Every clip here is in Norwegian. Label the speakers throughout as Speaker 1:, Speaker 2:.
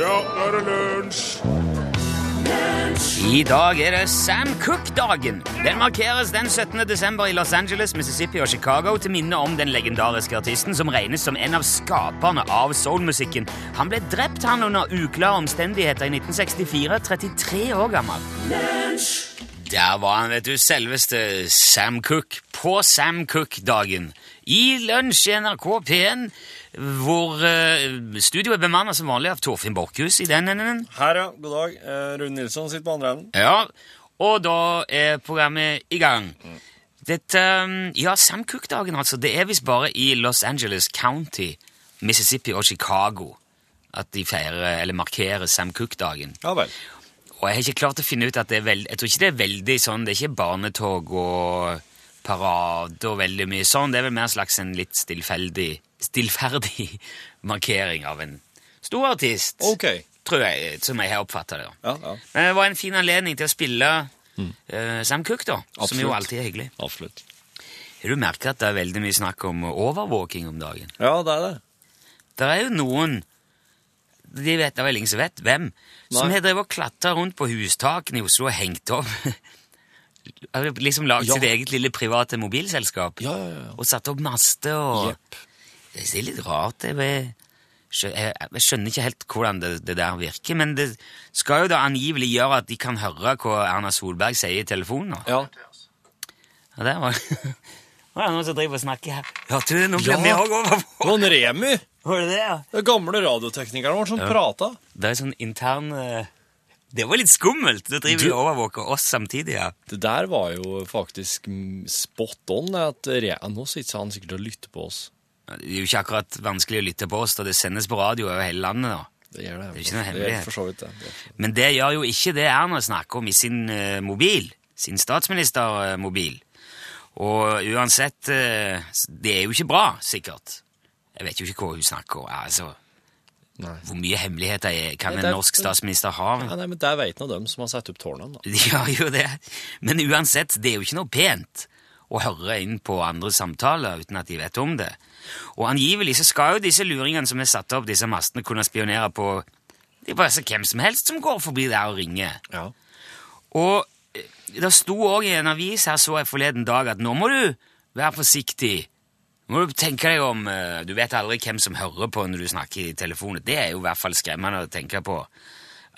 Speaker 1: Ja, nå er det lunsj!
Speaker 2: I dag er det Sam Cook-dagen. Den markeres den 17. desember i Los Angeles, Mississippi og Chicago til minne om den legendariske artisten som regnes som en av skaperne av soulmusikken. Han ble drept han under uklare omstendigheter i 1964, 33 år gammel. Der var han, vet du, selveste Sam Cook på Sam Cook-dagen. I lunsj i NRK P1, hvor eh, studioet er bemannet som vanlig av Torfinn Borkhus i den enden.
Speaker 3: Her, ja. God dag. Eh, Rune Nilsson sitter på andre enden.
Speaker 2: Ja, og da er programmet i gang. Dette, um, ja, Sam Cook-dagen altså, det er vist bare i Los Angeles County, Mississippi og Chicago at de feirer, eller markerer Sam Cook-dagen.
Speaker 3: Ja vel.
Speaker 2: Og jeg har ikke klart å finne ut at det er veldig, jeg tror ikke det er veldig sånn, det er ikke barnetog og parade og veldig mye sånn, det er vel mer slags en litt stillfeldig, stillferdig markering av en stor artist,
Speaker 3: Ok.
Speaker 2: tror jeg, som jeg har oppfattet det da.
Speaker 3: Ja, ja.
Speaker 2: Men Eh, det var en fin anledning til å spille eh, Sam Cooke, da. Som jo
Speaker 3: Mm. Absolutt.
Speaker 2: alltid er hyggelig.
Speaker 3: Absolutt.
Speaker 2: Har du merket at det er veldig mye snakk om overvåking om dagen?
Speaker 3: Ja, det er det.
Speaker 2: Det er jo noen de vet, Det er vel ingen som vet hvem. Som
Speaker 3: Nei.
Speaker 2: har drevet og klatra rundt på hustakene i Oslo og hengt opp. Har liksom lagd
Speaker 3: Ja.
Speaker 2: sitt eget lille private mobilselskap.
Speaker 3: Ja, ja, ja.
Speaker 2: Og satt opp master og
Speaker 3: Jepp.
Speaker 2: Det er litt rart. Jeg, vet- skjø- jeg, jeg skjønner ikke helt hvordan det, det der virker, men det skal jo da angivelig gjøre at de kan høre hva Erna Solberg sier i telefonen. nå.
Speaker 3: Ja.
Speaker 2: Ja, der var Nå er det noen som driver og snakker her. Hørte du det? Nå blir
Speaker 3: Ja.
Speaker 2: vi òg overfor.
Speaker 3: Det var en Remi,
Speaker 2: Var det det, ja?
Speaker 3: den gamle radioteknikeren vår, som prata.
Speaker 2: Det er sånn intern eh, Det var litt skummelt! Da driver
Speaker 3: Du-
Speaker 2: de og overvåker oss samtidig, ja.
Speaker 3: Det der var jo faktisk mm, spot on. At Re ja, nå sitter han sikkert og lytter på oss.
Speaker 2: Det er jo ikke akkurat vanskelig å lytte på oss, da det sendes på radio over hele landet, da.
Speaker 3: Det gjør det.
Speaker 2: er ikke noe
Speaker 3: det
Speaker 2: hemmelighet.
Speaker 3: gjør for så vidt det. det. gjør for så vidt.
Speaker 2: Men det gjør jo ikke det Erna snakker om i sin eh, mobil. Sin statsministermobil. Og uansett eh, Det er jo ikke bra, sikkert. Jeg vet jo ikke hva hun snakker om. Altså,
Speaker 3: Nei.
Speaker 2: hvor mye hemmeligheter er- kan
Speaker 3: Nei,
Speaker 2: en
Speaker 3: det er-
Speaker 2: norsk statsminister ha?
Speaker 3: Ja, nei, men Der veit nå dem som har satt opp tårnene. da.
Speaker 2: De gjør jo det. Men uansett, det er jo ikke noe pent å høre inn på andre samtaler uten at de vet om det. Og angivelig så skal jo disse luringene som er satt opp, disse mastene, kunne spionere på det er bare så hvem som helst som går forbi der og ringer.
Speaker 3: Ja.
Speaker 2: Og eh, det sto òg i en avis her så jeg forleden dag at nå må du være forsiktig. Nå må du tenke deg om eh, Du vet aldri hvem som hører på når du snakker i telefonen. Det er jo i hvert fall skremmende å tenke på.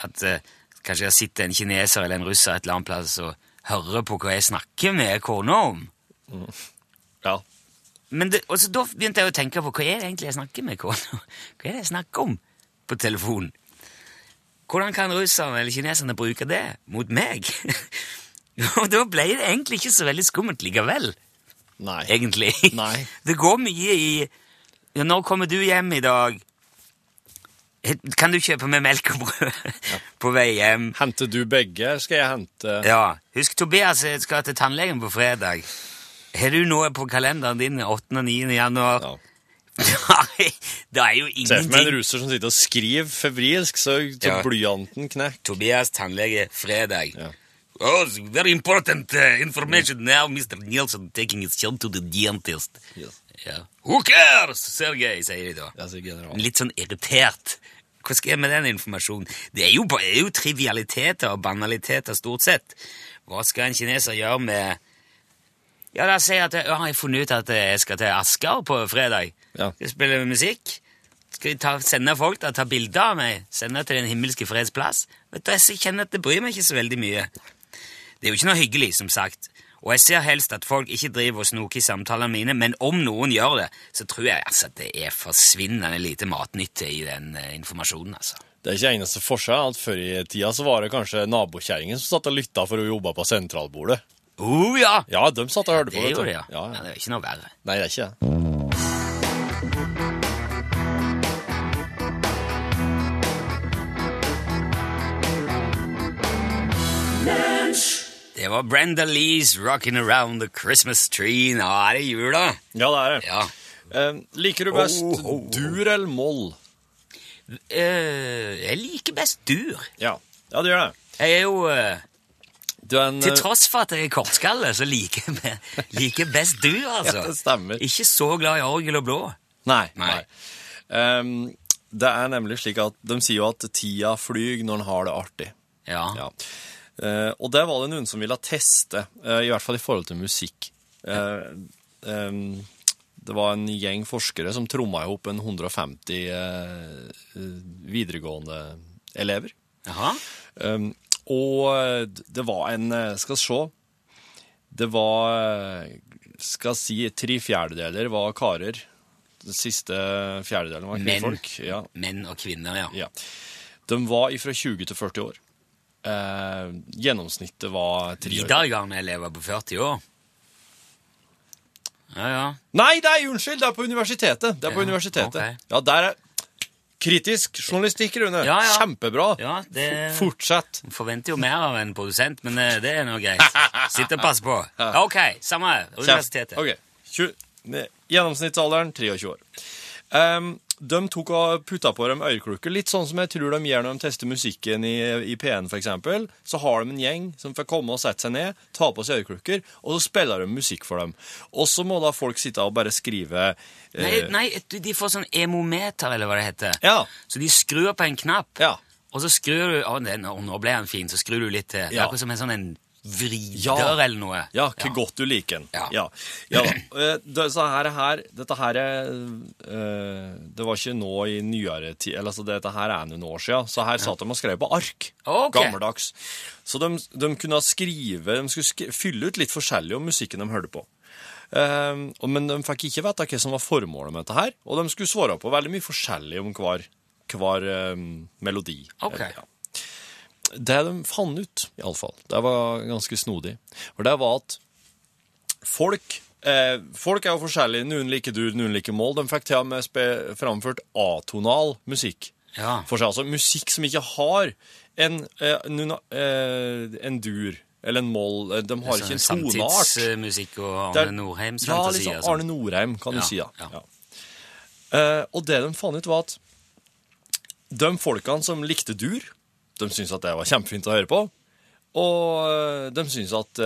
Speaker 2: At eh, kanskje det sitter en kineser eller en russer et eller annet plass og hører på hva jeg snakker med kona om.
Speaker 3: ja.
Speaker 2: Men det, og så da begynte jeg å tenke på hva er det egentlig jeg snakker med kona Hva er det jeg snakker om på telefonen? Hvordan kan russerne eller kineserne bruke det mot meg? Og da ble det egentlig ikke så veldig skummelt likevel,
Speaker 3: Nei.
Speaker 2: egentlig.
Speaker 3: Nei.
Speaker 2: Det går mye i ja, 'Når kommer du hjem i dag?' Kan du kjøpe meg melk og brød på vei hjem?
Speaker 3: Henter du begge? Skal jeg hente
Speaker 2: Ja. Husk, Tobias jeg skal til tannlegen på fredag. Har du noe på kalenderen din 8. og 9. januar?
Speaker 3: Ja.
Speaker 2: Nei, det er jo
Speaker 3: Se for meg en
Speaker 2: ingenting.
Speaker 3: russer som sitter og skriver febrilsk, så, så
Speaker 2: Ja.
Speaker 3: blyanten knekk.
Speaker 2: Tobias tannlege fredag.
Speaker 3: Ja.
Speaker 2: Oh, it's very important uh, information now, Mr. Nielsen taking his son to the dentist.
Speaker 3: Yes.
Speaker 2: Ja. Who cares, Sergej, sier de da.
Speaker 3: Jeg sier general.
Speaker 2: Litt sånn irritert. Hva skal jeg med den informasjonen? Det er jo, ba- det er jo trivialiteter og banaliteter stort sett. Hva skal en kineser gjøre med Ja, la oss si at jeg, ja, jeg har funnet ut at jeg skal til Asker på fredag.
Speaker 3: Ja.
Speaker 2: Skal spille musikk. Skal jeg ta, sende folk der, ta bilder av meg? Sende til Den himmelske freds plass? Vet du, Jeg kjenner at det bryr meg ikke så veldig mye. Det er jo ikke noe hyggelig, som sagt. Og jeg ser helst at folk ikke driver og snoker i samtalene mine, men om noen gjør det, så tror jeg altså at det er forsvinnende lite matnyttig i den eh, informasjonen, altså.
Speaker 3: Det er ikke eneste forskjell at før i tida så var det kanskje nabokjerringen som satt og lytta for hun jobba på sentralbordet.
Speaker 2: oh, ja!
Speaker 3: Ja, de satt og hørte
Speaker 2: Det
Speaker 3: på. vet du.
Speaker 2: gjorde det, ja.
Speaker 3: Ja,
Speaker 2: ja.
Speaker 3: ja.
Speaker 2: Det er ikke noe verre.
Speaker 3: Nei, det er ikke det.
Speaker 2: Det var Brenda Lees 'Rockin' Around the Christmas Tree'. Nå er det jul, da.
Speaker 3: Ja, det er det.
Speaker 2: Ja.
Speaker 3: Eh, liker du best
Speaker 2: Oh, oh, oh.
Speaker 3: dur eller moll?
Speaker 2: Eh, jeg liker best dur.
Speaker 3: Ja. ja, du gjør det.
Speaker 2: Jeg er jo eh,
Speaker 3: Du er en
Speaker 2: Til
Speaker 3: eh,
Speaker 2: tross for at jeg er kortskalle, så liker jeg be- liker jeg best dur, altså.
Speaker 3: Ja, det stemmer.
Speaker 2: Ikke så glad i orgel og blå.
Speaker 3: Nei.
Speaker 2: Nei.
Speaker 3: nei. Ehm, Det er nemlig slik at de sier jo at tida flyg når en har det artig.
Speaker 2: Ja.
Speaker 3: Ja. Eh, og der var det noen som ville teste, eh, i hvert fall i forhold til musikk. Eh, ehm, det var en gjeng forskere som tromma i hop en 150 eh, videregående elever.
Speaker 2: Jaha.
Speaker 3: Um, og det var en eh, Skal se. Det var eh, Skal si tre fjerdedeler var karer. Den siste fjerdedelen var
Speaker 2: Menn.
Speaker 3: kvinnfolk. Ja,
Speaker 2: Menn og kvinner, ja.
Speaker 3: ja. De var fra 20 til 40 år. Eh, gjennomsnittet var tre år.
Speaker 2: Videregående elever på 40 år. Ja, ja.
Speaker 3: Nei, nei, unnskyld! Det er på universitetet. Det er på
Speaker 2: Ja,
Speaker 3: universitetet.
Speaker 2: ok.
Speaker 3: Ja, der er Kritisk journalistikk, Rune.
Speaker 2: Ja, ja.
Speaker 3: Kjempebra.
Speaker 2: Ja, det-
Speaker 3: F- Fortsett.
Speaker 2: Forventer jo mer av en produsent, men eh, det er nå greit. Sitt og pass på. Ok, samme her. Universitetet.
Speaker 3: Ok. Tju- ne- Gjennomsnittsalderen 23 år. Ehm, de tok og putta på dem øreklokker, litt sånn som jeg tror de gjør når de tester musikken i, i P1 f.eks. Så har de en gjeng som får komme og sette seg ned, ta på seg øreklokker, og så spiller de musikk for dem. Og så må da folk sitte og bare skrive eh,
Speaker 2: Nei, nei, du, de får sånn emometer, eller hva det heter.
Speaker 3: Ja.
Speaker 2: Så de skrur på en knapp,
Speaker 3: Ja.
Speaker 2: og så skrur du Å, det, nå, nå ble han fin, så skrur du litt til. Det er
Speaker 3: Ja.
Speaker 2: akkurat som en sånn en vrider
Speaker 3: Ja.
Speaker 2: eller noe.
Speaker 3: Ja, hvor godt du liker den.
Speaker 2: Ja.
Speaker 3: ja. ja da. Eh, det- så her, her, dette her eh, Det var ikke nå i nyere tid eller, altså, Dette her er noen år siden, så her satt de og skrev på ark.
Speaker 2: Ok.
Speaker 3: Gammeldags. Så de, de kunne skrive De skulle skri, fylle ut litt forskjellig om musikken de hørte på. Eh, og- men de fikk ikke vite hva som var formålet med dette her, og de skulle svare på veldig mye forskjellig om hver, hver eh, melodi.
Speaker 2: Ok.
Speaker 3: Ja. Det de fant ut, iallfall, det var ganske snodig, for det var at folk eh, Folk er jo forskjellige. Noen liker dur, noen liker mål. De fikk til og med spe- framført atonal musikk.
Speaker 2: Ja.
Speaker 3: For seg, altså musikk som ikke har en, eh, noen, eh, en dur eller en mål. Eh, De har
Speaker 2: Sånn
Speaker 3: ikke en toneart.
Speaker 2: Samtidsmusikk og
Speaker 3: Det
Speaker 2: Arne
Speaker 3: er-
Speaker 2: Norheims
Speaker 3: ja,
Speaker 2: fantasi.
Speaker 3: liksom
Speaker 2: og sånn.
Speaker 3: Arne Norheim, kan
Speaker 2: Ja,
Speaker 3: du si. Ja.
Speaker 2: ja.
Speaker 3: Ja. Eh, og det de fant ut, var at de folkene som likte dur, de syntes at det var kjempefint å høre på. Og eh, de syntes at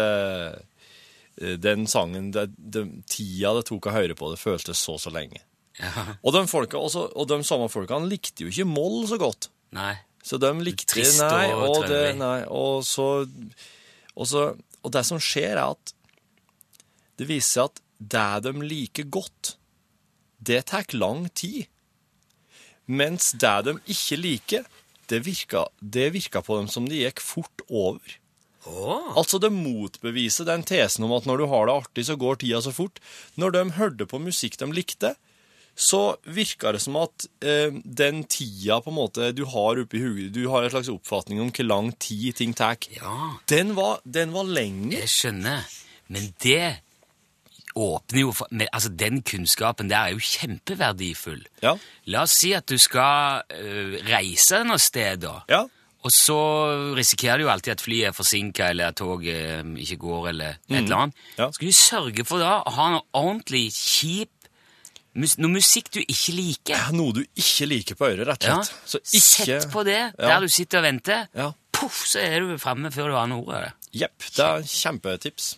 Speaker 3: eh, den sangen det, den Tida det tok å høre på, det føltes så så lenge.
Speaker 2: Ja.
Speaker 3: Og de, folka, også, og de samme folkene likte jo ikke moll så godt.
Speaker 2: Nei.
Speaker 3: Så de likte
Speaker 2: Trist og
Speaker 3: nei, og det,
Speaker 2: traurig.
Speaker 3: nei, og så, og så Og det som skjer, er at det viser seg at det de liker godt, det tar lang tid. Mens det de ikke liker, det virka, det virka på dem som det gikk fort over.
Speaker 2: Åh.
Speaker 3: Altså, det motbeviser den tesen om at når du har det artig, så går tida så fort. Når de hørte på musikk de likte, så virka det som at eh, den tida på en måte du har oppi huet Du har en slags oppfatning om hvor lang tid ting tar.
Speaker 2: Ja.
Speaker 3: Den var, den var lenge.
Speaker 2: Jeg skjønner, men det åpner jo for men, Altså, den kunnskapen der er jo kjempeverdifull.
Speaker 3: Ja.
Speaker 2: La oss si at du skal øh, reise noe sted, da.
Speaker 3: Ja.
Speaker 2: Og så risikerer du jo alltid at flyet er forsinka, eller at toget øh, ikke går, eller et eller annet.
Speaker 3: Ja.
Speaker 2: Skal du sørge for da å ha noe ordentlig kjip mus Noe musikk du ikke liker?
Speaker 3: Noe du ikke liker på øret, rett og
Speaker 2: Ja.
Speaker 3: slett. Så ikke
Speaker 2: Sett på det
Speaker 3: Ja.
Speaker 2: der du sitter og venter.
Speaker 3: Ja.
Speaker 2: Poff, så er du framme før du har noe ordet.
Speaker 3: Jepp. Det er kjempetips.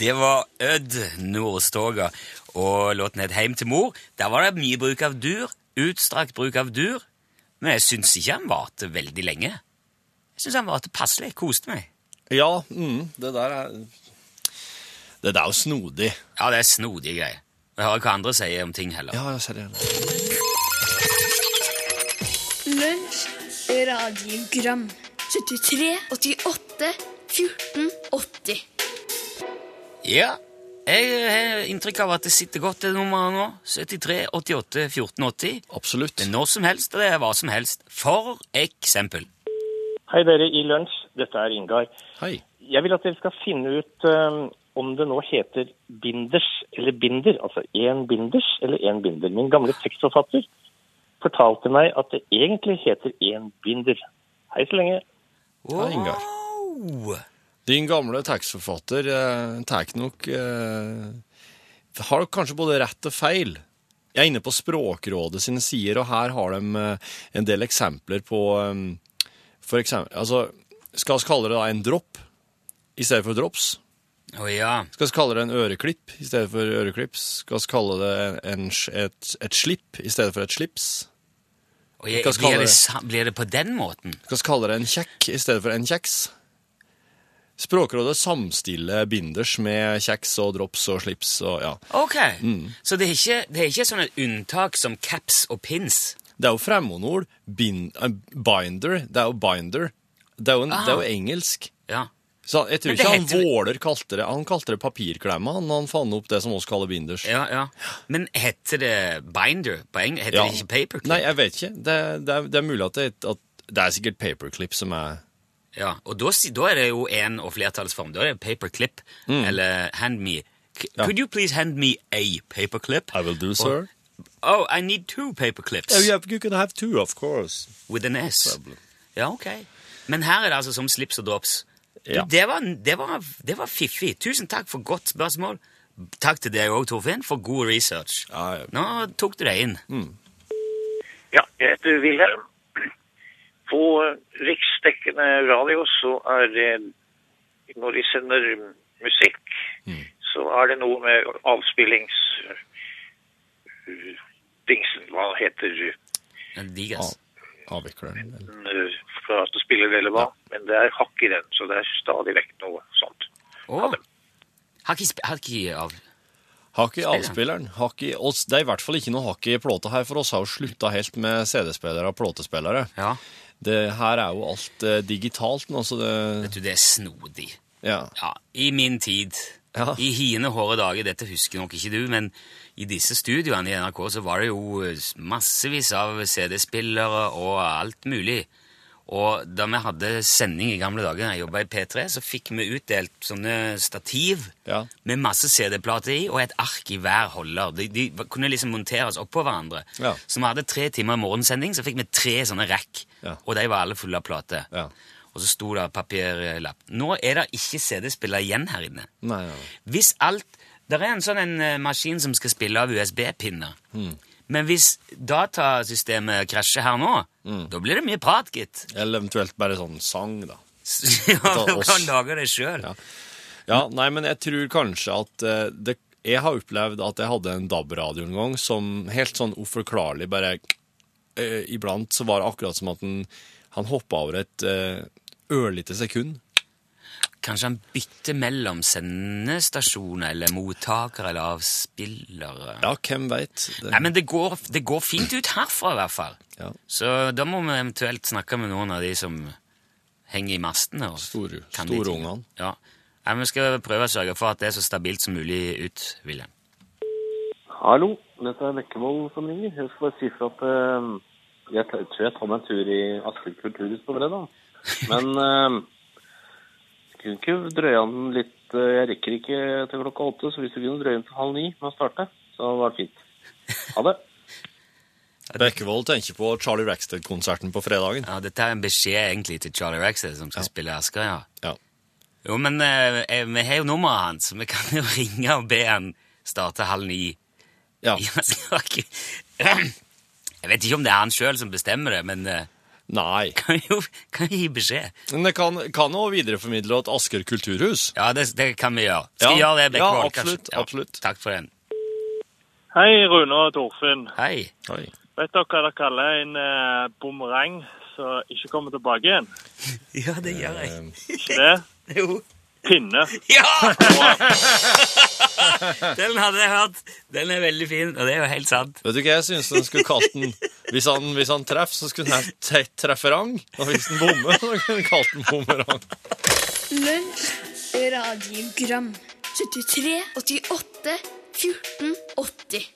Speaker 2: Det var Ødd Nordstoga, og låten het Heim til mor. Der var det mye bruk av dur, utstrakt bruk av dur, men jeg syns ikke han varte veldig lenge. Jeg syns han varte passelig. Koste meg.
Speaker 3: Ja, mm, det der er Det der er jo snodig.
Speaker 2: Ja, det er snodige greier. Og Jeg hører ikke hva andre sier om ting heller.
Speaker 3: Ja, ja, seriøst.
Speaker 4: Lunsj, radiogram 73, 88, 14, 80
Speaker 2: Ja, jeg eh, har inntrykk av at det sitter godt det nummeret nå. 73 88 14 80.
Speaker 3: Absolutt.
Speaker 2: Det er når som helst, og det er hva som helst. For eksempel.
Speaker 5: Hei dere i lunsj, dette er Ingar.
Speaker 3: Hei.
Speaker 5: Jeg vil at dere skal finne ut eh, om det nå heter binders eller binder, altså én binders eller én binder. Min gamle tekstforfatter fortalte meg at det egentlig heter én binder. Hei så lenge.
Speaker 3: Hei, Ingar.
Speaker 2: Wow.
Speaker 3: Din gamle tekstforfatter eh, tar nok eh, Har nok kanskje både rett og feil. Jeg er inne på Språkrådet sine sider, og her har de eh, en del eksempler på eh, For eksempel Altså, skal vi kalle det da en dropp i stedet for drops?
Speaker 2: Å ja.
Speaker 3: Skal vi kalle det en øreklipp i stedet for øreklips? Skal vi kalle det en, en, et, et slipp i stedet for et slips?
Speaker 2: Og jeg,
Speaker 3: Hva skal
Speaker 2: blir,
Speaker 3: det?
Speaker 2: det, sa- blir det på den måten?
Speaker 3: Skal vi kalle det en kjekk i stedet for en kjeks? Språkrådet samstiller binders med kjeks og drops og slips og ja.
Speaker 2: Ok,
Speaker 3: Mm.
Speaker 2: Så det er ikke, det er ikke sånne unntak som caps og pins?
Speaker 3: Det er jo fremmedord. Bin, eh, binder. Det er jo binder. Det er jo, en,
Speaker 2: Ah.
Speaker 3: det er jo engelsk.
Speaker 2: Ja.
Speaker 3: Så han- jeg tror
Speaker 2: Men det
Speaker 3: ikke han
Speaker 2: heter jo-
Speaker 3: Våler kalte det Han kalte det papirklemme han, når han fant opp det som oss kaller binders.
Speaker 2: ja, ja. Men heter det binder på engelsk? Heter
Speaker 3: Ja.
Speaker 2: det ikke paperclip?
Speaker 3: Nei, jeg vet ikke. Det, det, er, det er mulig at det, at det er sikkert paperclip som er
Speaker 2: Ja, og da, si- da er det jo en- og flertallsform. Da er det paperclip eller hand me. C-
Speaker 3: Mm. Ja.
Speaker 2: Could you please hand me a paperclip?
Speaker 3: I will do,
Speaker 2: Or-
Speaker 3: sir.
Speaker 2: oh, I need two paperclips
Speaker 3: you can have two, of course.
Speaker 2: with an S.
Speaker 3: Problem.
Speaker 2: Ja, ok. Men her er det altså som slips og drops. Du,
Speaker 3: Ja.
Speaker 2: det, var, det, var, det var fiffig. Tusen takk for godt spørsmål. Takk til deg òg, Torfinn, for god research.
Speaker 3: Ja, ja.
Speaker 2: Nå tok du deg inn.
Speaker 6: Ja, jeg heter Wilhelm. På riksdekkende radio så er det Når de sender musikk, så er det noe med avspillings... uh, Dingsen, hva heter
Speaker 3: Mm.
Speaker 2: Den digg, ass.
Speaker 3: Avvikleren. eller-
Speaker 6: den uh, fra at du spiller eller hva? Men det er hakk i den, så det er stadig vekk noe sånt.
Speaker 2: Å. Har ikke sp- har ikke av
Speaker 3: Hakk i avspilleren. Hakk i oss. Det er i hvert fall ikke noe hakk i plata her, for oss har jo slutta helt med CD-spillere og platespillere.
Speaker 2: Ja.
Speaker 3: Det her er jo alt eh, digitalt nå, så det
Speaker 2: Vet du, det er snodig.
Speaker 3: Ja.
Speaker 2: Ja, i min tid,
Speaker 3: Ja.
Speaker 2: i hine hårde dager, dette husker nok ikke du, men i disse studioene i NRK så var det jo eh, massevis av CD-spillere og alt mulig. Og da vi hadde sending i gamle dager, da jeg jobba i P3, så fikk vi utdelt sånne stativ
Speaker 3: Ja.
Speaker 2: med masse CD-plater i og et ark i hver holder. De, de kunne liksom monteres oppå hverandre.
Speaker 3: Ja.
Speaker 2: Så vi hadde tre timer morgensending, så fikk vi tre sånne rack.
Speaker 3: Ja.
Speaker 2: Og de var alle fulle av plater.
Speaker 3: Ja.
Speaker 2: Og så sto det papirlapp. Nå er det ikke CD-spiller igjen her inne.
Speaker 3: Nei, nei, nei.
Speaker 2: Hvis alt Det er en sånn en eh, maskin som skal spille av USB-pinner.
Speaker 3: Mm.
Speaker 2: Men hvis datasystemet krasjer her nå,
Speaker 3: Mm.
Speaker 2: da blir det mye prat, gitt.
Speaker 3: Eller eventuelt bare sånn sang, da.
Speaker 2: ja, du
Speaker 3: oss.
Speaker 2: kan lage det sjøl.
Speaker 3: Ja. Ja, nei, men jeg tror kanskje at eh, det, Jeg har opplevd at jeg hadde en DAB-radio en gang som helt sånn uforklarlig bare eh, Iblant så var det akkurat som at den, han hoppa over et uh, ørlite sekund.
Speaker 2: Kanskje han bytter mellom sendestasjoner eller mottakere eller avspillere.
Speaker 3: Ja, hvem veit? Det-
Speaker 2: Nei, men det går, det går fint ut herfra, i hvert fall.
Speaker 3: Ja.
Speaker 2: Så da må vi eventuelt snakke med noen av de som henger i mastene. og
Speaker 3: Store-
Speaker 2: kan de
Speaker 3: store
Speaker 2: tingene.
Speaker 3: ungene.
Speaker 2: Ja. Nei, Vi skal prøve å sørge for at det er så stabilt som mulig ut, William.
Speaker 7: Hallo, dette er Bekkevold som ringer. Jeg skal bare si fra at eh, jeg t- tror jeg tar meg en tur i Asker kulturhus på fredag. Men eh, kunne ikke drøye an litt. eh, jeg rekker ikke til klokka åtte, så hvis du kunne drøye an til halv ni med å starte, så hadde det vært fint. Ha det.
Speaker 3: Bekkevold tenker på Charlie Rackstead-konserten på fredagen.
Speaker 2: Ja, Dette er en beskjed egentlig til Charlie Rackstead, som skal spille Asker. ja.
Speaker 3: Ja.
Speaker 2: Jo, men eh, eh, vi har jo nummeret hans, så vi kan jo ringe og be han starte halv ni.
Speaker 3: ja.
Speaker 2: i Asker. Jeg vet ikke om det er han sjøl som bestemmer det, men eh,
Speaker 3: Nei.
Speaker 2: kan jo kan jo gi beskjed.
Speaker 3: Men det kan, kan også videreformidle at Asker kulturhus
Speaker 2: Ja, det, det kan vi gjøre. Skal vi
Speaker 3: Ja,
Speaker 2: gjøre det, Bekkevold?
Speaker 3: ja, absolutt,
Speaker 2: kanskje?
Speaker 3: absolutt.
Speaker 2: Takk for den.
Speaker 8: Hei, Rune og Torfinn.
Speaker 2: Hei.
Speaker 3: Oi.
Speaker 8: Vet dere hva dere kaller en eh, bumerang som ikke kommer tilbake igjen?
Speaker 2: Ja, det gjør jeg.
Speaker 3: Ehm.
Speaker 8: Ikke det?
Speaker 2: Jo.
Speaker 8: Pinne.
Speaker 2: Ja! den hadde jeg hørt. Den er veldig fin, og det er jo helt sant.
Speaker 3: Vet du hva jeg syns den skulle kalt den? Hvis han, hvis han treffer, så skulle den hett tre- trefferang. Og hvis den bommer, så kunne den kalt den bommerang.
Speaker 4: Lunsj, radiogram 73, 88, 14, 80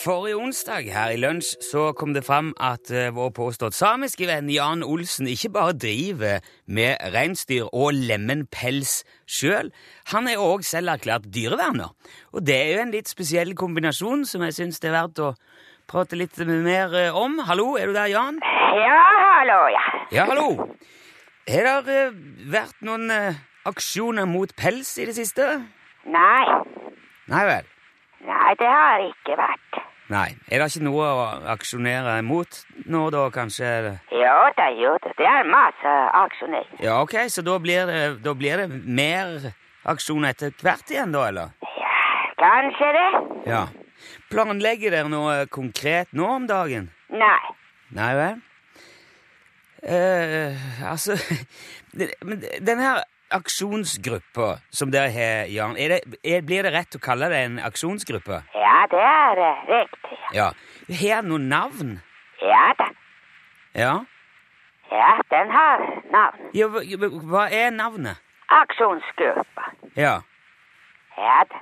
Speaker 2: Forrige onsdag her i lunsj så kom det fram at eh, vår påstått samiske venn Jan Olsen ikke bare driver med reinsdyr og lemenpels sjøl, han er òg selv erklært dyreverner. Og det er jo en litt spesiell kombinasjon som jeg syns det er verdt å prate litt mer eh, om. Hallo, er du der, Jan?
Speaker 9: Ja, hallo, ja.
Speaker 2: Ja, hallo. Har det eh, vært noen eh, aksjoner mot pels i det siste?
Speaker 9: Nei,
Speaker 2: Nei vel.
Speaker 9: nei, det har ikke vært.
Speaker 2: Nei. Er det ikke noe å aksjonere mot nå, da, kanskje? eller?
Speaker 9: Jo da, jo da, det er masse aksjoner.
Speaker 2: Ja, ok, så da blir det, da blir det mer aksjon etter hvert igjen, da, eller?
Speaker 9: Kanskje det?
Speaker 2: Ja. Planlegger dere noe konkret nå om dagen?
Speaker 9: Nei.
Speaker 2: Nei vel? Eh, altså det- Men denne her aksjonsgruppa som dere har, Jan, er det, er, blir det rett å kalle det en aksjonsgruppe?
Speaker 9: Ja, det er eh, riktig.
Speaker 2: Ja. Har den noe navn?
Speaker 9: Ja da.
Speaker 2: Ja.
Speaker 9: Ja, den har navn.
Speaker 2: ja hva, hva er navnet?
Speaker 9: Aksjonsgruppa.
Speaker 2: Ja.
Speaker 9: Ja da.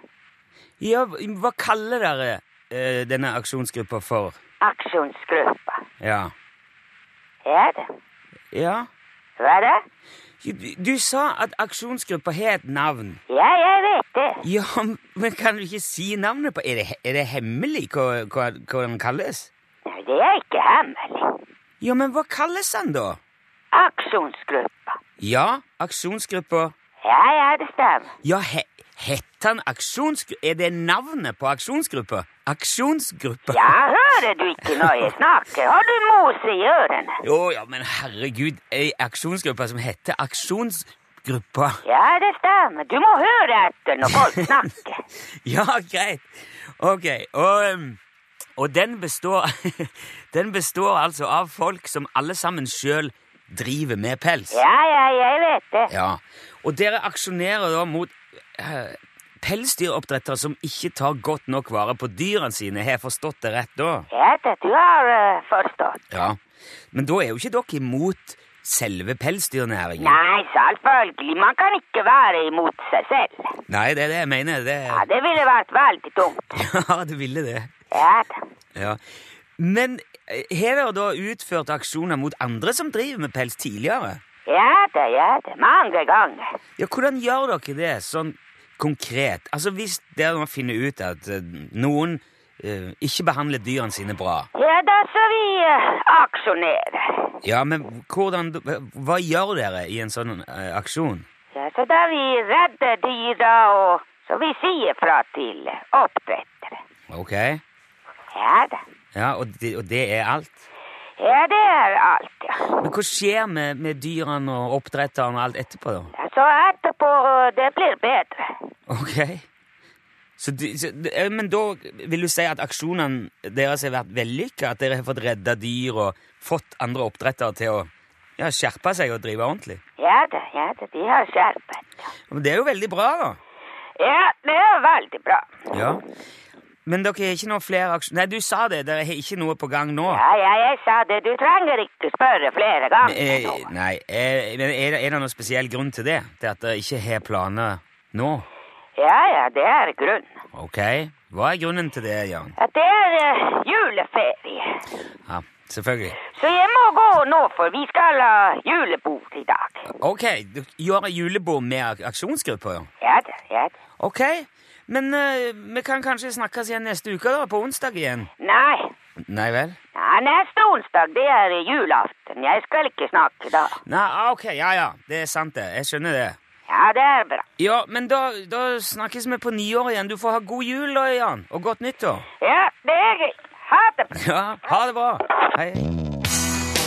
Speaker 2: ja hva kaller dere eh, denne aksjonsgruppa for?
Speaker 9: Aksjonsgruppa.
Speaker 2: Ja.
Speaker 9: Ja da.
Speaker 2: Ja.
Speaker 9: Hva da?
Speaker 2: Du, du sa at aksjonsgruppa har et navn.
Speaker 9: Ja, jeg vet det.
Speaker 2: Ja, men kan du ikke si navnet på Er det, he- er det hemmelig hva, hva, hva den kalles?
Speaker 9: Nei, det er ikke hemmelig.
Speaker 2: Ja, men hva kalles den, da?
Speaker 9: Aksjonsgruppa.
Speaker 2: Ja, aksjonsgruppa
Speaker 9: Ja, ja, det stemmer.
Speaker 2: Ja, he, heter den aksjonsgruppa? Er det navnet på aksjonsgruppa? Aksjonsgruppa?
Speaker 9: Ja, hører du ikke når jeg snakker? Har du mos i ørene?
Speaker 2: Jo, ja, men herregud, ei aksjonsgruppe som heter Aksjonsgruppa.
Speaker 9: Ja, det stemmer. Du må høre etter når folk snakker.
Speaker 2: Ja, greit. Ok, og, um, og den består Den består altså av folk som alle sammen sjøl driver med pels.
Speaker 9: Ja, ja, jeg vet det.
Speaker 2: Ja. Og dere aksjonerer da mot eh, pelsdyroppdrettere som ikke tar godt nok vare på dyrene sine. Har jeg forstått det rett da?
Speaker 9: Ja, det du har eh, forstått.
Speaker 2: Ja. Men da er jo ikke dere imot selve pelsdyrnæringen?
Speaker 9: Nei, selvfølgelig. Man kan ikke være imot seg selv.
Speaker 2: Nei, det er det jeg mener. Det,
Speaker 9: Ja, det ville vært veldig dumt.
Speaker 2: ja, det ville det.
Speaker 9: Ja da.
Speaker 2: Ja. Men eh, har dere da utført aksjoner mot andre som driver med pels tidligere?
Speaker 9: Ja da, ja da. Mange ganger.
Speaker 2: Ja, hvordan gjør dere det sånn konkret? Altså, hvis dere nå finner ut at eh, noen eh, ikke behandler dyrene sine bra,
Speaker 9: Ja da, så vi eh, aksjonerer.
Speaker 2: ja, men hvordan, hva gjør dere i en sånn eh, aksjon?
Speaker 9: Ja, så da vi redder dyra og så vi sier fra til oppdrettere.
Speaker 2: Ok?
Speaker 9: Ja da.
Speaker 2: Ja, og det, og det er alt?
Speaker 9: Ja, det er alt, ja.
Speaker 2: Men hva skjer med, med dyrene og oppdretteren og alt etterpå, da?
Speaker 9: Ja, Så etterpå, eh, det blir bedre.
Speaker 2: Ok. Så, du- så, du- eh, men da vil du si at aksjonene deres har vært vellykka? At dere har fått redda dyr og fått andre oppdrettere til å ja, skjerpe seg og drive ordentlig?
Speaker 9: Ja da, ja da, de har skjerpet.
Speaker 2: Men det er jo veldig bra, da.
Speaker 9: Ja, det er veldig bra.
Speaker 2: Ja. Men dere har ikke noe flere aksjoner Nei, du sa det. Dere har ikke noe på gang nå.
Speaker 9: Ja, ja, jeg sa det, du trenger ikke spørre flere ganger
Speaker 2: Eh,
Speaker 9: nå.
Speaker 2: nei, eh, men er det, er det noen spesiell grunn til det? Til at dere ikke har planer nå?
Speaker 9: Ja, ja, det er grunnen.
Speaker 2: Ok. Hva er grunnen til det, Jan?
Speaker 9: At det er eh, juleferie.
Speaker 2: Ja, selvfølgelig.
Speaker 9: Så jeg må gå nå, for vi skal ha julebord i dag.
Speaker 2: Ok, du gjør julebord med ak- aksjonsgrupper, ja?
Speaker 9: Ja da, ja da.
Speaker 2: Ok, men eh, vi kan kanskje snakkes igjen neste uke da, på onsdag igjen.
Speaker 9: Nei,
Speaker 2: Nei vel?
Speaker 9: nei, neste onsdag, det er julaften. Jeg skal ikke snakke da.
Speaker 2: Nei, ah, ok, ja, ja, det er sant det, jeg skjønner det.
Speaker 9: Ja, det er bra.
Speaker 2: Ja, men da, da snakkes vi på nyår igjen. Du får ha god jul da, Jan, og godt nyttår.
Speaker 9: Ja, det er greit. Ha det bra.
Speaker 2: Ja, ha det bra. Hei.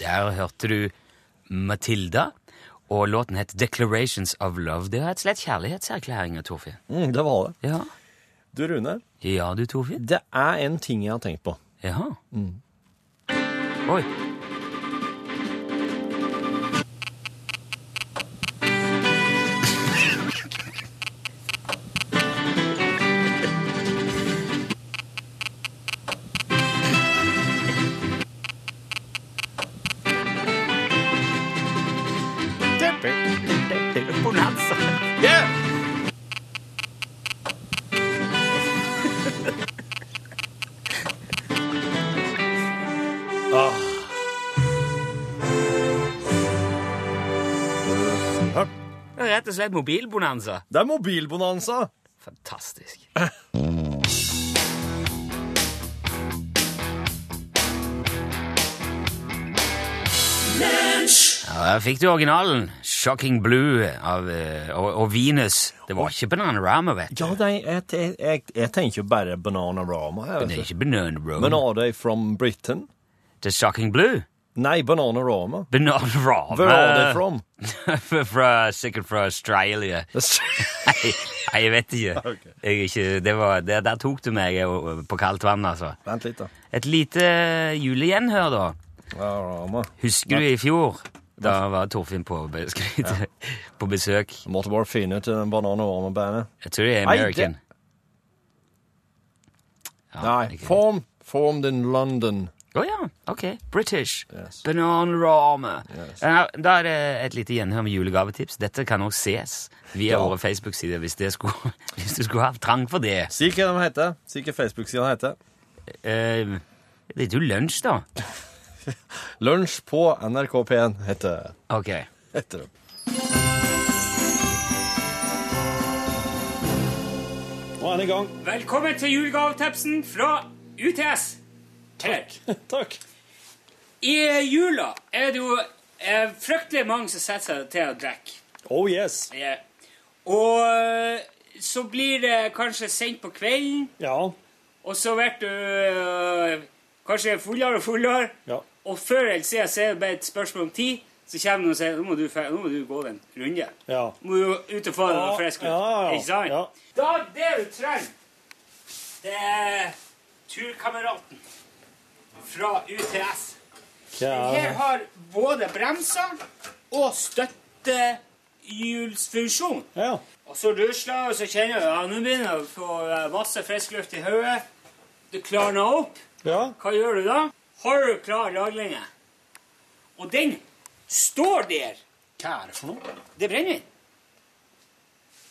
Speaker 2: Der hørte du Matilda, og låten het Declarations of Love. Det er rett og slett kjærlighetserklæringer, Torfinn.
Speaker 3: Mm, det var det.
Speaker 2: Ja.
Speaker 3: Du, Rune,
Speaker 2: Ja, du, Torfinn.
Speaker 3: det er en ting jeg har tenkt på.
Speaker 2: Jaha. Oi. Bonanza. Rett og slett mobilbonanza.
Speaker 3: Det er mobilbonanza!
Speaker 2: Fantastisk. Ja, der fikk du originalen. 'Shocking Blue' av, eh, og, og Venus. Det var ikke Bananarama, vet du.
Speaker 3: Ja, det er, jeg, jeg, jeg, jeg tenker jo bare Bananarama. her,
Speaker 2: Det er
Speaker 3: vet du.
Speaker 2: ikke Bananarama.
Speaker 3: Men are they from Britain?
Speaker 2: Det er 'Shocking Blue'.
Speaker 3: Nei, Bananarama.
Speaker 2: Bananarama.
Speaker 3: Where are they from?
Speaker 2: fra, sikkert fra Australia. Nei, nei, jeg vet ikke. Jeg, er ikke det var, det, der tok du meg eh, på kaldt vann, altså.
Speaker 3: Vent litt, da.
Speaker 2: Et lite julegjenhør, da.
Speaker 3: Bananarama.
Speaker 2: Husker du i fjor? Da var Torfinn på, beskri- på besøk.
Speaker 3: Måtte bare finne til den Bananarama-bandet.
Speaker 2: Jeg tror det er
Speaker 3: Nei,
Speaker 2: American. Ja,
Speaker 3: Nei,
Speaker 2: ikke vet.
Speaker 3: form. Formed in London.
Speaker 2: Å ja, ok. British.
Speaker 3: Yes.
Speaker 2: Bananrama. Ja, Da er det et lite gjenhør med julegavetips. Dette kan også ses via
Speaker 3: Ja.
Speaker 2: våre Facebook-sider hvis, det skulle- hvis du skulle ha trang for det.
Speaker 3: Si hva de heter. Si hva Facebook-sida heter.
Speaker 2: Eh, det er jo lunsj, da.
Speaker 3: Lunsj på NRK P1 heter,
Speaker 2: Ok.
Speaker 3: heter det. Nå er den i gang.
Speaker 10: Velkommen til julegavetipsen fra UTS. Takk.
Speaker 3: Takk.
Speaker 10: I jula er det jo eh, fryktelig mange som setter seg til å drikke.
Speaker 3: Oh yes.
Speaker 10: Eh, Og eh, så blir det kanskje sent på kvelden,
Speaker 3: Ja.
Speaker 10: og så blir du eh, kanskje fullere og fullere.
Speaker 3: Ja.
Speaker 10: Og før eller siden så er det bare et spørsmål om tid, så kommer noen og sier nå må du, fe- nå må du gå den runde.
Speaker 3: Ja.
Speaker 10: Må jo ut og få deg noe
Speaker 3: Ja,
Speaker 10: frisk luft.
Speaker 3: ja, ja.
Speaker 10: Ikke sant?
Speaker 3: Ja.
Speaker 10: Da det du trenger, det er turkameraten fra UTS. Her har både bremser og støttehjulsfunksjon.
Speaker 3: Ja.
Speaker 10: Og så rusler, og så kjenner du ja, nå begynner du å få eh, masse frisk luft i hodet. Du klarner opp.
Speaker 3: Ja.
Speaker 10: Hva gjør du da? Har du klar laglinge? Og den står der.
Speaker 11: Hva er det for noe?
Speaker 10: Det er brennevin.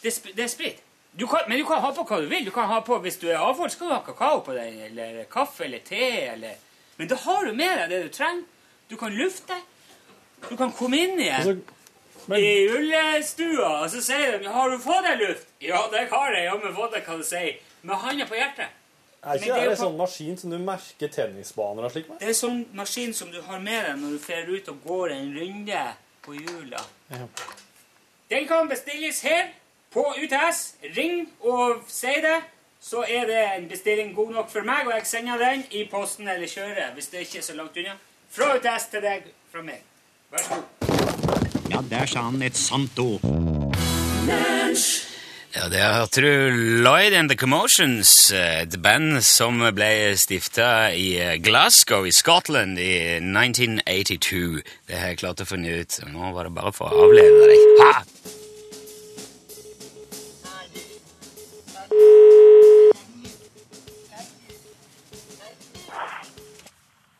Speaker 10: Det, er sp- det er sprit. Du kan, men du kan ha på hva du vil. Du kan ha på, Hvis du er avholds, skal du ha kakao på deg, eller kaffe eller te. eller... Men da har du med deg det du trenger. Du kan lufte. Du kan komme inn igjen i julestua, og så sier de 'Har du fått deg luft?' 'Ja, det har jeg. Jammen fått det', kan du si. Med handa på hjertet.
Speaker 11: Er
Speaker 10: Men
Speaker 11: ikke
Speaker 10: det er
Speaker 11: det
Speaker 10: jo
Speaker 11: en sånn maskin som du merker tennisbaner og slik med?
Speaker 10: Det er sånn maskin som du har med deg når du fer ut og går en runde på jula. Den kan bestilles her på UTS. Ring og si det. Så er det en bestilling god nok for meg, og jeg sender den i posten eller kjører hvis det ikke er så langt unna. Fra UTS til deg fra meg. Vær så god.
Speaker 11: Ja, der sa han et sant ord.
Speaker 2: Ja, Der hørte du Lloyd and the Commotions, eh, et band som ble stifta i eh, Glasgow i Scotland i 1982. Det har jeg klart å finne ut. Nå var det bare for å avleve deg. Ha!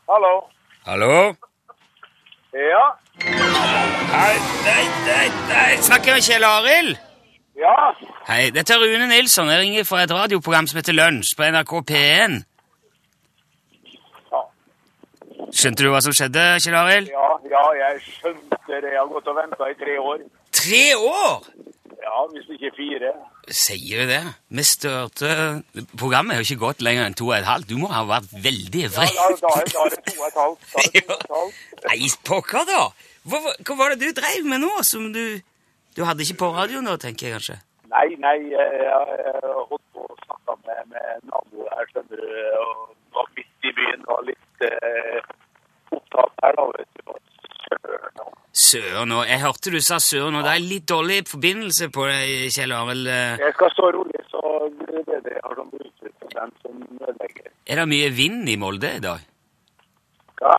Speaker 6: Hallo.
Speaker 2: Hallo?
Speaker 6: Ja,
Speaker 2: Hei, nei, nei, nei. Snakker med Kjell Arild?
Speaker 6: ja.
Speaker 2: Hei, dette er Rune Nilsson. Jeg ringer fra et radioprogram som heter Lunsj på NRK P1.
Speaker 6: Ja.
Speaker 2: Skjønte du hva som skjedde, Kjell Arild?
Speaker 6: Ja, ja, jeg skjønte det. Jeg har gått og venta i tre år.
Speaker 2: Tre år!
Speaker 6: Ja, hvis ikke fire.
Speaker 2: Sier du det? Vi størte Programmet har jo ikke gått lenger enn to og et halvt. Du må ha vært veldig
Speaker 6: Ja,
Speaker 2: ivrig.
Speaker 6: da, da, er- da er det to og et halvt. Da er det to og et halvt.
Speaker 2: Nei, pokker, da! Hva, hva- hva var det du dreiv med nå som du Du hadde ikke på radio nå, tenker jeg kanskje?
Speaker 6: Nei, nei, eh, jeg jeg har holdt på å snakke med, med naboer her, skjønner du, og var midt i byen og litt eh, opptatt her, da, vet du. Og søren, og-
Speaker 2: Søren nå. Jeg hørte du sa søren nå. Det er litt dårlig forbindelse på deg, Kjell Arild.
Speaker 6: Jeg skal stå rolig, så blir det det jeg har som bruker for dem som ødelegger.
Speaker 2: Er det mye vind i Molde i dag?
Speaker 6: Ja,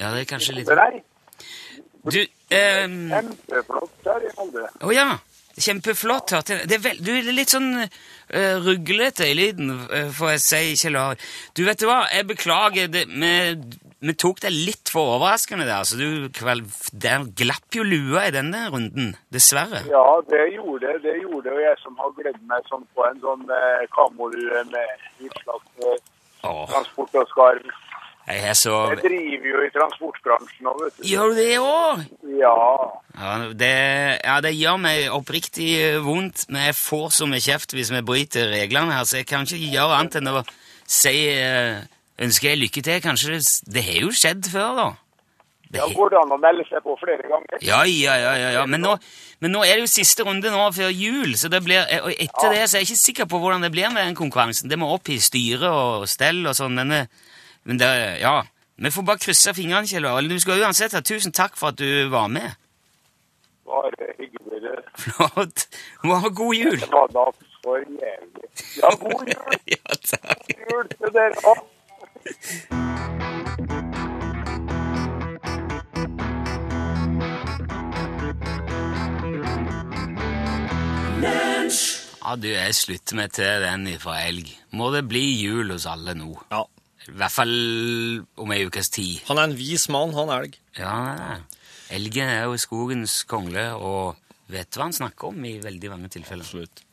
Speaker 2: Ja, det er kanskje litt
Speaker 6: det er deg.
Speaker 2: Du ehm,
Speaker 6: Kjempeflott der i Molde.
Speaker 2: Å ja. Kjempeflott. hørte jeg. Det er vel- du er litt sånn eh, ruglete i lyden, eh, får jeg si, Kjell Arild. Du, vet du hva, jeg beklager. Det, vi, vi tok deg litt for overraskende der, så du kvel, der glapp jo lua i denne runden. Dessverre.
Speaker 6: Ja, det gjorde det. Det gjorde jo jeg som har gledd meg sånn på en sånn eh, kamolue med utslags eh,
Speaker 2: Åh,
Speaker 6: transport og skarv.
Speaker 2: jeg er så
Speaker 6: Jeg driver jo i transportbransjen nå, vet du.
Speaker 2: Gjør du det òg?
Speaker 6: Ja.
Speaker 2: Ja, det- ja, det gjør meg oppriktig eh, vondt, men jeg får så mye kjeft hvis vi bryter reglene her, så jeg kan ikke gjøre annet enn å si eh, Ønsker jeg lykke til? Kanskje det, s- det har jo skjedd før, da. Det
Speaker 6: Ja,
Speaker 2: he-
Speaker 6: går det an å melde seg på flere ganger?
Speaker 2: ja, ja, ja, ja, ja. Men, nå, men nå er det jo siste runde nå før jul, så det blir, eh, og etter det så er jeg ikke sikker på hvordan det blir med den konkurransen. Det må opp i styre og stell og sånn, men, eh, men det, ja, Vi får bare krysse fingrene, Kjell Arild. Du skal uansett ha tusen takk for at du var med.
Speaker 12: Bare hyggelig. det.
Speaker 2: Flott. Må ha god jul.
Speaker 12: Det var da for jævlig. Ja, god jul!
Speaker 2: ja, takk.
Speaker 12: God jul til dere òg.
Speaker 2: Ja, du, jeg slutter meg til den fra Elg. Må det bli jul hos alle nå.
Speaker 3: Ja.
Speaker 2: I hvert fall om ei ukes tid.
Speaker 3: Han er en vis mann, han Elg.
Speaker 2: Ja, han er det. Elgen er jo skogens kongle og vet hva han snakker om i veldig mange tilfeller.
Speaker 3: Absolutt.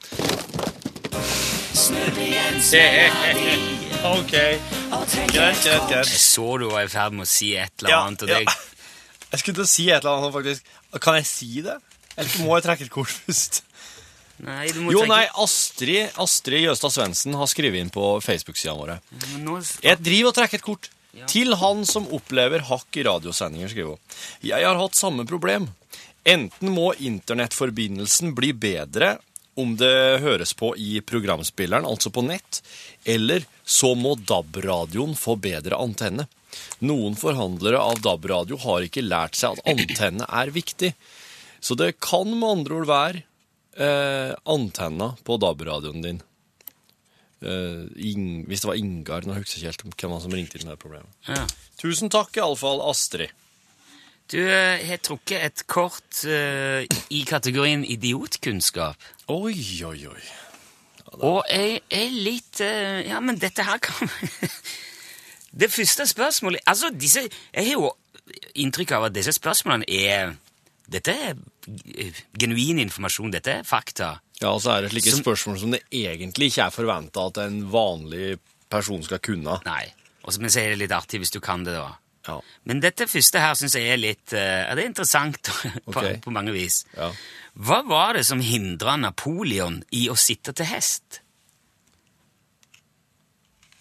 Speaker 2: ok.
Speaker 3: Greit, greit, greit.
Speaker 2: Jeg så du var i ferd med å si et eller
Speaker 3: Ja,
Speaker 2: annet, og
Speaker 3: ja.
Speaker 2: det
Speaker 3: Jeg skulle til å si et eller annet, faktisk. Kan jeg si det? Eller så må jeg trekke et kort først?
Speaker 2: Nei, du må
Speaker 3: Jo,
Speaker 2: tenke-
Speaker 3: nei, Astrid, Astrid Jøstad Svendsen har skrevet inn på Facebook-sidene våre.
Speaker 2: Men Nå
Speaker 3: Jeg driver og trekker et kort. Til han som opplever hakk i radiosendinger, skriver hun. Jeg har hatt samme problem. Enten må internettforbindelsen bli bedre om det høres på i programspilleren, altså på nett, eller så må DAB-radioen få bedre antenne. Noen forhandlere av DAB-radio har ikke lært seg at antenne er viktig. Så det kan med andre ord være eh, antenna på DAB-radioen din. Eh, Ing, hvis det var Ingar, nå husker jeg ikke helt hvem han som ringte inn med det problemet.
Speaker 2: Ja.
Speaker 3: Tusen takk iallfall, Astrid.
Speaker 2: Du eh, har trukket et kort eh, i kategorien idiotkunnskap.
Speaker 3: Oi, oi, oi.
Speaker 2: Og jeg er litt eh, Ja, men dette her kan Det første spørsmålet Altså, disse Jeg har jo inntrykk av at disse spørsmålene er Dette er g- genuin informasjon. Dette er fakta.
Speaker 3: Ja, og så er det slike
Speaker 2: Som-
Speaker 3: spørsmål som det egentlig ikke er forventa at en vanlig person skal kunne.
Speaker 2: Nei. Og så, men så er det litt artig hvis du kan det, da. Men dette første her syns jeg er litt eh, Ja, det er interessant på,
Speaker 3: Ok.
Speaker 2: på mange vis. Hva var det som hindra Napoleon i å sitte til hest?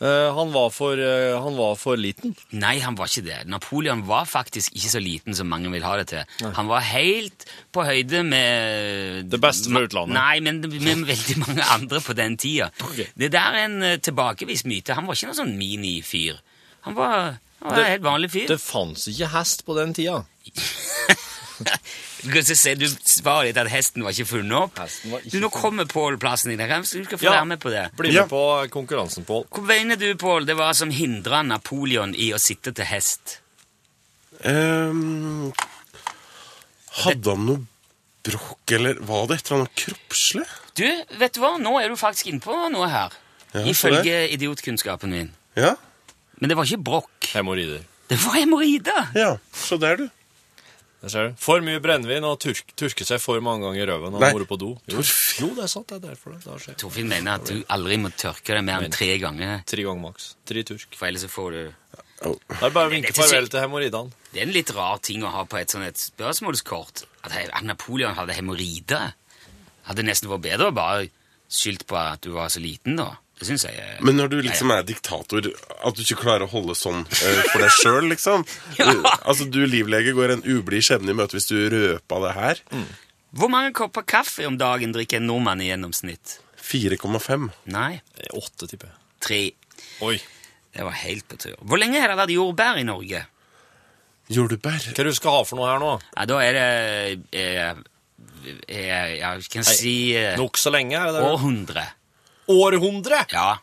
Speaker 3: Eh, han, var for, eh, han var for liten.
Speaker 2: Nei, han var ikke det. Napoleon var faktisk ikke så liten som mange vil ha det til.
Speaker 3: Nei.
Speaker 2: Han var helt på høyde med
Speaker 3: Det beste fra utlandet.
Speaker 2: Nei, men med veldig mange andre på den tida. Det der er en eh, tilbakevist myte. Han var ikke noen sånn minifyr. Han var, han var en helt vanlig fyr.
Speaker 3: Det fantes ikke hest på den tida.
Speaker 2: Du, kan så se- du svarer litt at hesten var ikke funnet opp. du, nå kommer Pål plassen din. Jeg skal- Du skal få
Speaker 3: Ja,
Speaker 2: være med på det.
Speaker 3: Bli med på konkurransen, Pål.
Speaker 2: Hvor mener du, Pål, det var som hindra Napoleon i å sitte til hest?
Speaker 1: Ehm, hadde han noe bråk, eller var det et eller annet kroppslig?
Speaker 2: Du, vet du hva? Nå er du faktisk inne på noe her.
Speaker 1: Ja, så det.
Speaker 2: Ifølge idiotkunnskapen min.
Speaker 1: Ja.
Speaker 2: Men det var ikke brokk.
Speaker 3: Hemoroider.
Speaker 2: Det var hemoroider!
Speaker 1: Ja, så der, du.
Speaker 3: Der ser du. For mye brennevin og turk, turke seg for mange ganger i røven og
Speaker 2: Nei.
Speaker 3: more på do. Jo. jo, det er sant. Det er derfor det, det har skjedd.
Speaker 2: Torfinn mener at du aldri må tørke det mer enn tre ganger.
Speaker 3: Tre ganger maks. Tre turk.
Speaker 2: For ellers så får du
Speaker 3: Det er bare å vinke
Speaker 2: Dette sier-
Speaker 3: farvel til hemoroidene.
Speaker 2: Det er en litt rar ting å ha på et sånt et spørsmålskort. At he- at Napoleon hadde hemoroider. Hadde nesten vært bedre å bare skyldt på at du var så liten, da. Det syns jeg er
Speaker 1: Men når du liksom er diktator, at du ikke klarer å holde sånn eh, for deg sjøl, liksom Eh, Altså, du livlege går en ublid skjebne i møte hvis du røpa det her.
Speaker 2: Hvor mange kopper kaffe om dagen drikker en nordmann i gjennomsnitt?
Speaker 1: 4,5.
Speaker 2: Nei.
Speaker 3: Eh, Åtte, tipper jeg.
Speaker 2: Tre.
Speaker 3: Oi.
Speaker 2: Det var helt på tur. Hvor lenge har det vært jordbær i Norge?
Speaker 1: Jordbær.
Speaker 3: Hva du skal ha for noe her nå?
Speaker 2: Ja, da er det eh, eh, Ja, vi kan
Speaker 3: Nei,
Speaker 2: si eh,
Speaker 3: Nok så lenge, er det det?
Speaker 2: Århundre.
Speaker 3: Århundre?
Speaker 2: Ja.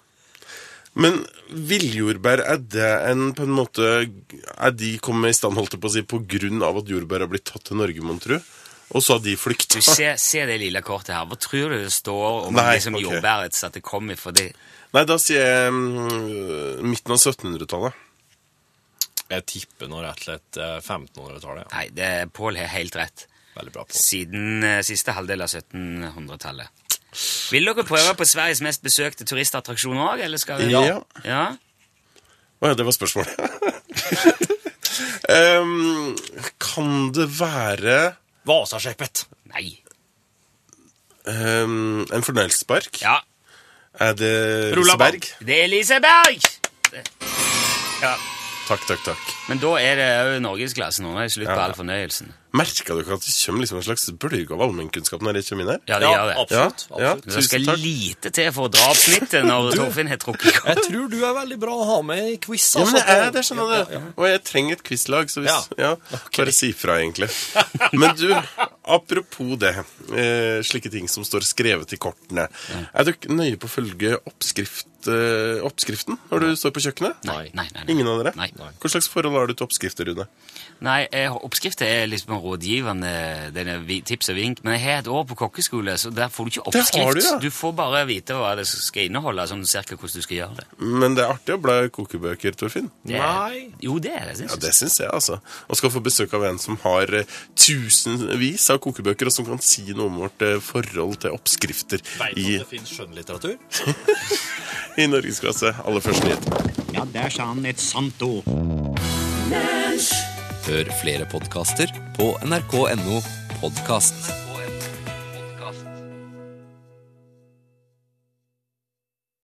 Speaker 1: Men villjordbær, er det en på en måte Er de kommet i stand, holdt jeg på å si, på grunn av at jordbær har blitt tatt til Norge, mon tru? Og så har de flykta?
Speaker 2: Du, se, se det lille kortet her. Hva tror du det står om
Speaker 1: Nei,
Speaker 2: liksom
Speaker 1: ok.
Speaker 2: jordbærets at det kommer fra det?
Speaker 1: Nei, da sier jeg mm, midten av 1700-tallet.
Speaker 3: Jeg tipper nå rett og slett eh, 1500-tallet.
Speaker 2: Nei, det, Pål har helt rett.
Speaker 3: Veldig bra, Pål.
Speaker 2: Siden eh, siste halvdel av 1700-tallet. Vil dere prøve på Sveriges mest besøkte turistattraksjon òg, eller skal vi
Speaker 1: Ja.
Speaker 2: ja?
Speaker 1: Å ja, det var spørsmålet. Ehm, kan det være
Speaker 3: Vasaskeppet.
Speaker 2: Nei.
Speaker 1: ehm, en fornøyelsespark?
Speaker 2: Ja.
Speaker 1: Er det
Speaker 2: Rullaban.
Speaker 1: Liseberg?
Speaker 2: Det er Liseberg! Ja.
Speaker 1: Takk, takk, takk.
Speaker 2: Men da er det òg norgesklasse nå. Nå er det slutt på all fornøyelsen.
Speaker 1: Merka du ikke at det kommer liksom en slags bølge av allmennkunnskap når jeg kommer inn her?
Speaker 2: Ja, det gjør det.
Speaker 1: Ja, ja,
Speaker 2: Men det skal
Speaker 1: tusen takk.
Speaker 2: lite til for å dra opp snittet når
Speaker 1: Du-
Speaker 2: Torfinn har trukket kort.
Speaker 3: Jeg tror du er veldig bra å ha med i quiz.
Speaker 1: sånn- Ja, men
Speaker 3: altså.
Speaker 1: jeg er det, skjønner du. Og jeg trenger et quizlag, så hvis Ja, bare si fra, egentlig. Men du, apropos det. Eh, slike ting som står skrevet i kortene. Er du ikke nøye på å følge oppskrift, eh, oppskriften når du står på kjøkkenet?
Speaker 2: Nei, nei, nei,
Speaker 1: Ingen av dere?
Speaker 2: Nei.
Speaker 1: Hva slags forhold har du til oppskrifter, Rune?
Speaker 2: Nei, eh, oppskriften er liksom rådgivende den er vi- tips og vink, men jeg har et år på kokkeskole, så der får du ikke
Speaker 1: Det har
Speaker 2: oppskrift.
Speaker 1: du, ja.
Speaker 2: du får bare vite hva det skal inneholde, sånn cirka hvordan du skal gjøre det.
Speaker 1: Men det er artig å bla i kokebøker, Torfinn.
Speaker 2: Det er- Nei. Jo, det er det, synes
Speaker 1: Ja, det syns jeg, altså. Og skal få besøk av en som har eh, tusenvis av kokebøker, og som kan si noe om vårt eh, forhold til oppskrifter
Speaker 3: Vet du
Speaker 1: i,
Speaker 3: at det finnes skjønnlitteratur?
Speaker 1: i norgesklasse. Aller første nyhet.
Speaker 11: Ja, der sa han et sant ord.
Speaker 13: Hør flere podkaster på nrk.no podkast.